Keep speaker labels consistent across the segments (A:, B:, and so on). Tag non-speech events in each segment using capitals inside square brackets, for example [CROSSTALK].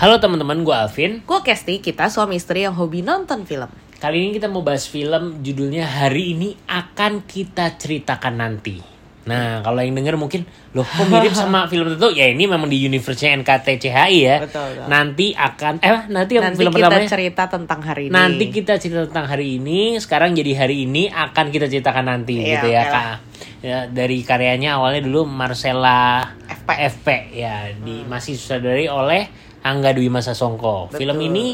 A: Halo teman-teman, gue Alvin.
B: Gue Kesti, kita suami istri yang hobi nonton film.
A: Kali ini kita mau bahas film judulnya hari ini akan kita ceritakan nanti. Nah, kalau yang denger mungkin loh kok
B: [LAUGHS]
A: mirip sama film itu ya ini memang di universe-nya NKTCHI ya.
B: Betul, betul.
A: Nanti akan eh nanti, apa
B: Nanti
A: film
B: kita
A: pertamanya?
B: cerita tentang hari ini.
A: Nanti kita cerita tentang hari ini, sekarang jadi hari ini akan kita ceritakan nanti
B: Iya,
A: gitu ya,
B: oke
A: Kak. Ya, dari karyanya awalnya dulu Marcella
B: FP.
A: FP ya, di
B: Hmm.
A: masih sutradari oleh Angga Dwi Masa Songko. Film
B: Betul.
A: ini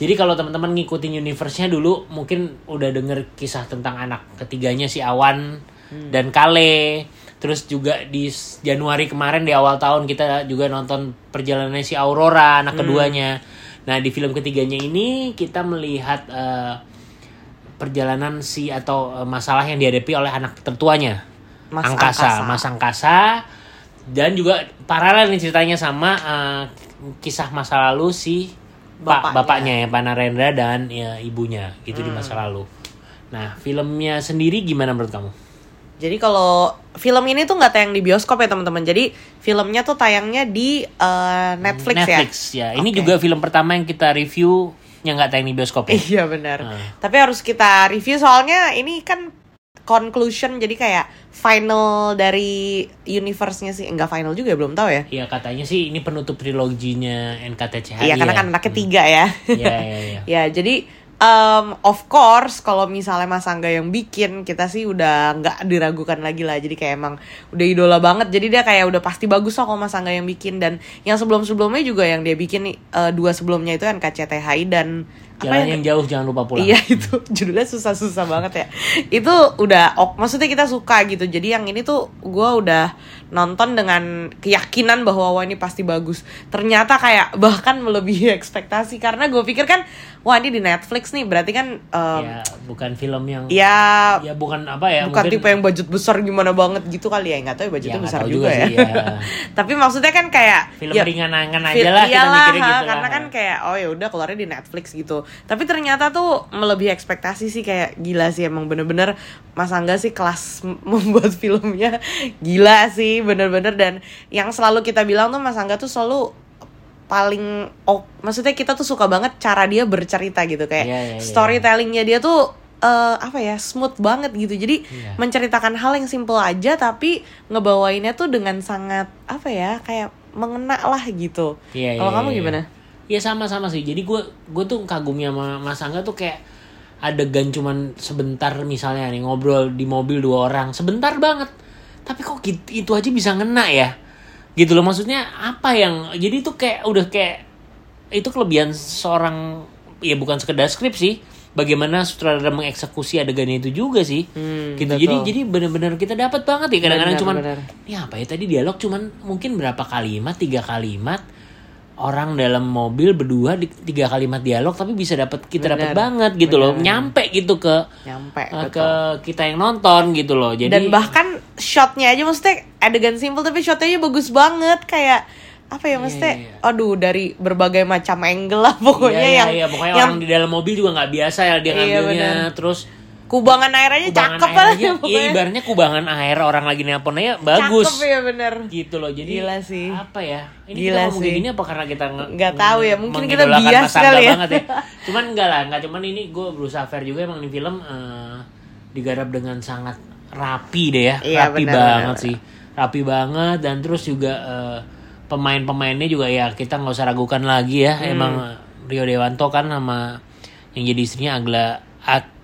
A: jadi kalau teman-teman ngikutin universe-nya dulu mungkin udah denger kisah tentang anak ketiganya si Awan
B: Hmm.
A: dan Kale. Terus juga di s- Januari kemarin di awal tahun kita juga nonton perjalanannya si Aurora anak
B: Hmm.
A: keduanya. Nah, di film ketiganya ini kita melihat eh, perjalanan si atau eh, masalah yang dihadapi oleh anak tertuanya.
B: Mas
A: angkasa,
B: Angkasa.
A: Mas Angkasa dan juga paralel nih ceritanya sama eh, kisah masa lalu si pak
B: Bapaknya. Hmm.
A: bapaknya ya Pak Narendra dan ya, ibunya gitu di masa lalu. Nah, filmnya sendiri gimana menurut kamu?
B: Jadi kalau film ini tuh nggak tayang di bioskop ya teman-teman. Jadi filmnya tuh tayangnya di eh, Netflix,
A: ya. Ini
B: Oke.
A: juga film pertama yang kita review yang nggak tayang di bioskop
B: ya.
A: ya.
B: [LAUGHS] Iya benar.
A: Hmm.
B: Tapi harus kita review soalnya ini kan conclusion jadi kayak final dari universe-nya sih. Enggak final juga belum tahu ya.
A: Iya katanya sih ini penutup triloginya NKTCHI.
B: Iya, karena
A: ya.
B: kan anak ketiga ya.
A: Iya iya iya.
B: Ya, jadi em, of course kalau misalnya Mas Angga yang bikin, kita sih udah nggak diragukan lagi lah. Jadi kayak emang udah idola banget. Jadi dia kayak udah pasti bagus lah kalau Mas Angga yang bikin dan yang sebelum-sebelumnya juga yang dia bikin eh, dua sebelumnya itu NKCTHI dan
A: Jalan
B: apa yang
A: yang jauh jangan lupa pulang.
B: Iya
A: [LAUGHS]
B: itu judulnya susah-susah banget ya. Itu udah ok, maksudnya kita suka gitu. Jadi yang ini tuh gua udah nonton dengan keyakinan bahwa wah ini pasti bagus. Ternyata kayak bahkan melebihi [LAUGHS] ekspektasi karena gue pikir kan wah ini di Netflix nih berarti kan um,
A: Ya, bukan film yang ya,
B: ya,
A: bukan apa ya
B: bukan
A: mungkin-
B: tipe yang budget besar gimana banget gitu kali ya nggak tahu ya
A: Ya,
B: budgetnya
A: nggak
B: besar
A: tahu
B: juga, ya.
A: sih, iya.
B: [LAUGHS] Tapi maksudnya kan kayak
A: Film
B: ya,
A: ringan-ringan
B: Fil-
A: aja lah kita
B: iyalah,
A: mikirnya
B: ha,
A: gitu
B: karena
A: lah.
B: kan kayak oh ya udah keluarnya di Netflix gitu tapi ternyata tuh melebihi ekspektasi sih kayak gila sih emang bener-bener Mas Angga sih kelas m- [LAUGHS] membuat filmnya gila sih bener-bener dan yang selalu kita bilang tuh Mas Angga tuh selalu paling oh, maksudnya kita tuh suka banget cara dia bercerita gitu kayak
A: Iya, iya, iya.
B: storytellingnya dia tuh eh, apa ya smooth banget gitu jadi
A: Iya.
B: menceritakan hal yang simple aja tapi ngebawainnya tuh dengan sangat apa ya kayak mengena lah gitu.
A: Iya,
B: Kalau
A: iya,
B: kamu
A: iya.
B: gimana?
A: Iya sama-sama sih. Jadi gue gue tuh kagumnya sama Mas Angga tuh kayak adegan cuman sebentar misalnya nih ngobrol di mobil dua orang sebentar banget. Tapi kok gitu, itu aja bisa ngena ya? Gitu loh maksudnya apa yang jadi itu kayak udah kayak itu kelebihan seorang ya bukan sekedar skrip sih. Bagaimana sutradara mengeksekusi adegannya itu juga sih.
B: Hmm,
A: gitu.
B: betul.
A: Jadi jadi benar-benar kita dapat banget ya kadang-kadang
B: Benar,
A: cuman
B: benar.
A: ini apa ya tadi dialog cuman mungkin berapa kalimat tiga kalimat orang dalam mobil berdua di- tiga kalimat dialog tapi bisa dapat kita dapat
B: Benar.
A: banget gitu loh
B: Benar.
A: nyampe gitu ke eh,
B: Nyampe
A: ke
B: betul.
A: kita yang nonton gitu loh Ah, jadi
B: Dan bahkan shotnya aja maksudnya adegan simple tapi shotnya aja bagus banget kayak apa ya maksudnya?
A: iya,
B: Aduh dari berbagai macam angle lah pokoknya
A: Iya, iya,
B: yang
A: iya. pokoknya
B: yang
A: orang di dalam mobil juga nggak biasa ya dia
B: Iya,
A: ngambilnya
B: benar.
A: terus
B: kubangan air aja
A: kubangan
B: cakep
A: air
B: lah
A: aja, iya,
B: pokoknya.
A: ibaratnya kubangan air orang lagi nelpon aja bagus
B: Cakep ya bener.
A: gitu loh jadi
B: Gila sih.
A: apa ya ini
B: Gila
A: kita ngomong kayak
B: sih.
A: gini apa karena kita nge-
B: Nggak tahu ya, mungkin kita
A: mengidolakan
B: bias
A: Mas Angga
B: kali ya. [LAUGHS]
A: banget cuman enggak lah enggak cuman ini gue berusaha fair juga emang ini film eh, digarap dengan sangat rapi deh ya
B: Iya,
A: rapi
B: benar,
A: banget
B: benar,
A: sih rapi banget dan terus juga eh, pemain-pemainnya juga ya kita nggak usah ragukan lagi ya
B: Hmm.
A: emang Rio Dewanto kan sama yang jadi istrinya Agla Ak-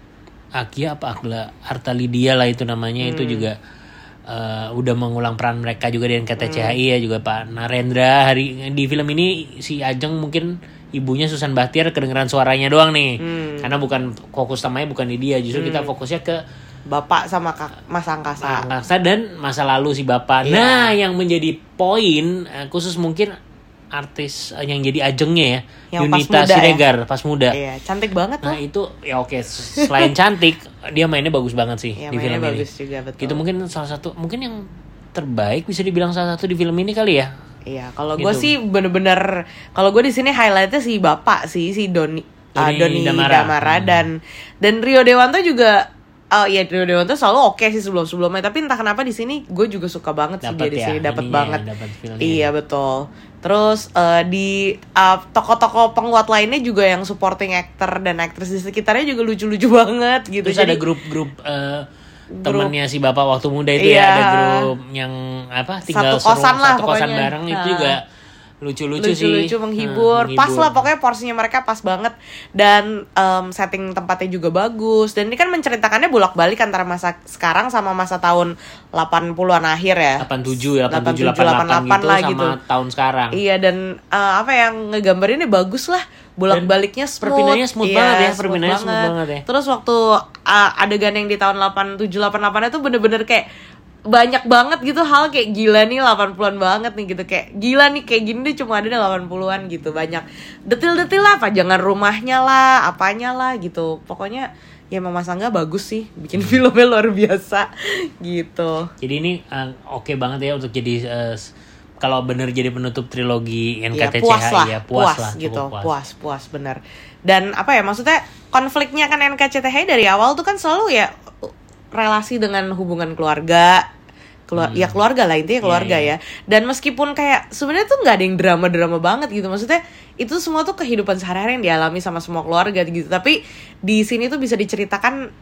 A: Akia apa Agla Arta Lydia lah itu namanya itu
B: Hmm.
A: juga eh, udah mengulang peran mereka juga dengan KTCHI
B: Hmm.
A: ya juga Pak Narendra hari di film ini si Ajeng mungkin ibunya Susan Bachtiar kedengeran suaranya doang nih
B: Hmm.
A: karena bukan fokus utamanya bukan di dia justru kita fokusnya ke
B: Bapak sama Kak Mas Angkasa.
A: angkasa dan masa lalu si
B: Iya.
A: bapak. Nah, yang menjadi poin eh, khusus mungkin artis eh, yang jadi ajengnya ya,
B: Yang pas
A: Yunita
B: muda ya?
A: Siregar pas muda.
B: Iya, cantik banget
A: Nah,
B: lah.
A: itu ya oke s-
B: [LAUGHS]
A: selain cantik, dia mainnya bagus banget sih
B: Iya,
A: di film
B: mainnya
A: ini.
B: bagus juga betul.
A: Gitu mungkin salah satu mungkin yang terbaik bisa dibilang salah satu di film ini kali ya.
B: Iya, kalau gue
A: Gitu.
B: sih bener-bener kalau gue di sini highlightnya si bapak sih si Doni ah,
A: Doni
B: Doni
A: Damara. Hmm.
B: Damara, dan dan Rio Dewanto juga Oh iya Rio Dewanto selalu oke sih sebelum sebelumnya tapi entah kenapa di sini gue juga suka banget sih dia
A: Dapet
B: di
A: ya,
B: sini dapat
A: ininya ya,
B: banget
A: dapet feel-nya.
B: iya betul terus eh, di eh, tokoh-tokoh penguat lainnya juga yang supporting actor dan actress di sekitarnya juga lucu-lucu [LAUGHS] banget gitu
A: Terus ada
B: Jadi-
A: grup-grup eh, temennya si bapak waktu muda itu
B: Iya.
A: ya ada grup yang apa tinggal
B: Satu kosan
A: seru-
B: lah
A: satu kosan
B: pokoknya.
A: bareng itu
B: Nah.
A: juga lucu-lucu sih
B: lucu-lucu
A: Nah,
B: menghibur. pas lah pokoknya porsinya mereka pas banget dan em, setting tempatnya juga bagus dan ini kan menceritakannya bolak-balik antara masa sekarang sama masa tahun 80-an akhir ya
A: 87 ya 87 88 gitu
B: 88 lah
A: sama
B: gitu
A: tahun sekarang
B: iya dan eh, apa yang ngegambarinnya bagus lah bolak-baliknya smooth
A: perpindahannya smooth
B: Iya,
A: banget ya, perpindahannya smooth banget ya.
B: terus waktu eh, adegan yang di tahun 87 88 itu bener-bener kayak banyak banget gitu hal kayak gila nih 80-an banget nih gitu kayak gila nih kayak gini deh cuma ada di 80-an gitu banyak detil-detil lah pajangan rumahnya lah apanya lah gitu pokoknya ya Mama Sangga bagus sih bikin [LAUGHS] filmnya luar biasa gitu
A: jadi ini eh, oke banget ya untuk jadi eh, s- kalau bener jadi penutup trilogi
B: Iya,
A: NKTCH
B: puas lah,
A: ya,
B: puas,
A: lah, cukup
B: gitu, puas.
A: puas.
B: puas, bener. Dan apa ya maksudnya konfliknya kan NKCTH dari awal tuh kan selalu ya uh, relasi dengan hubungan keluarga, keluar, ya keluarga lah intinya keluarga
A: Hmm. Iya,
B: ya. Dan meskipun kayak sebenarnya tuh nggak ada yang drama-drama banget gitu, maksudnya itu semua tuh kehidupan sehari-hari yang dialami sama semua keluarga gitu. Tapi di sini tuh bisa diceritakan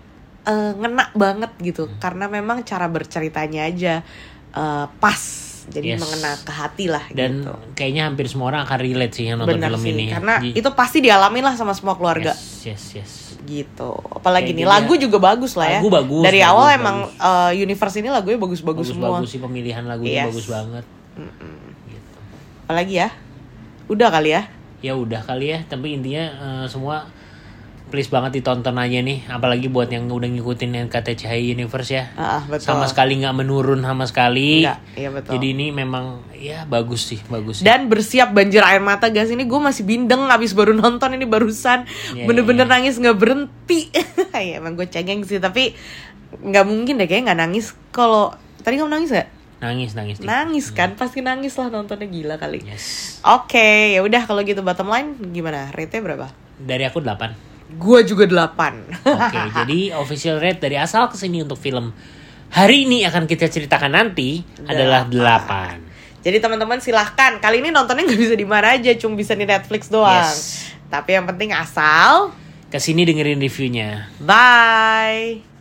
B: eh, ngena banget gitu,
A: Hmm.
B: karena memang cara berceritanya aja eh, pas,
A: Yes.
B: jadi mengena ke hati lah.
A: dan
B: gitu
A: kayaknya hampir semua orang akan relate sih yang nonton
B: benar
A: film
B: sih,
A: ini ya.
B: karena
A: Jadi-
B: itu pasti dialamin lah sama semua keluarga
A: yes yes yes
B: gitu apalagi
A: Kayak
B: nih
A: gini
B: lagu
A: ya.
B: juga bagus lah ya
A: Lagu bagus,
B: dari
A: bagus,
B: awal
A: bagus.
B: emang eh, universe ini lagunya bagus-bagus
A: bagus
B: semua
A: bagus sih pemilihan lagunya
B: Yes.
A: bagus banget gitu.
B: apalagi ya udah kali ya
A: ya udah kali ya tapi intinya eh, semua please banget ditonton aja nih apalagi buat yang udah ngikutin NKTCHI Universe ya
B: Ah, ah, betul.
A: sama sekali nggak menurun sama sekali
B: Nggak, iya betul.
A: jadi ini memang ya bagus sih bagus sih.
B: dan bersiap banjir air mata guys ini gue masih bindeng abis baru nonton ini barusan
A: Iya,
B: bener-bener nangis nggak berhenti [LAUGHS] ya emang gue cengeng sih tapi nggak mungkin deh kayaknya nggak nangis kalau tadi kamu nangis gak?
A: nangis nangis dikit.
B: nangis kan pasti nangis lah nontonnya gila kali
A: yes
B: Oke, ya udah kalau gitu bottom line gimana? Rate berapa?
A: dari aku 8
B: Gua juga 8.
A: oke jadi official rate dari asal kesini untuk film hari ini akan kita ceritakan nanti adalah 8
B: [LAUGHS] Jadi teman-teman silahkan kali ini nontonnya nggak bisa di mana aja, cuma bisa di Netflix doang.
A: Yes.
B: Tapi yang penting asal
A: Kesini dengerin reviewnya.
B: bye.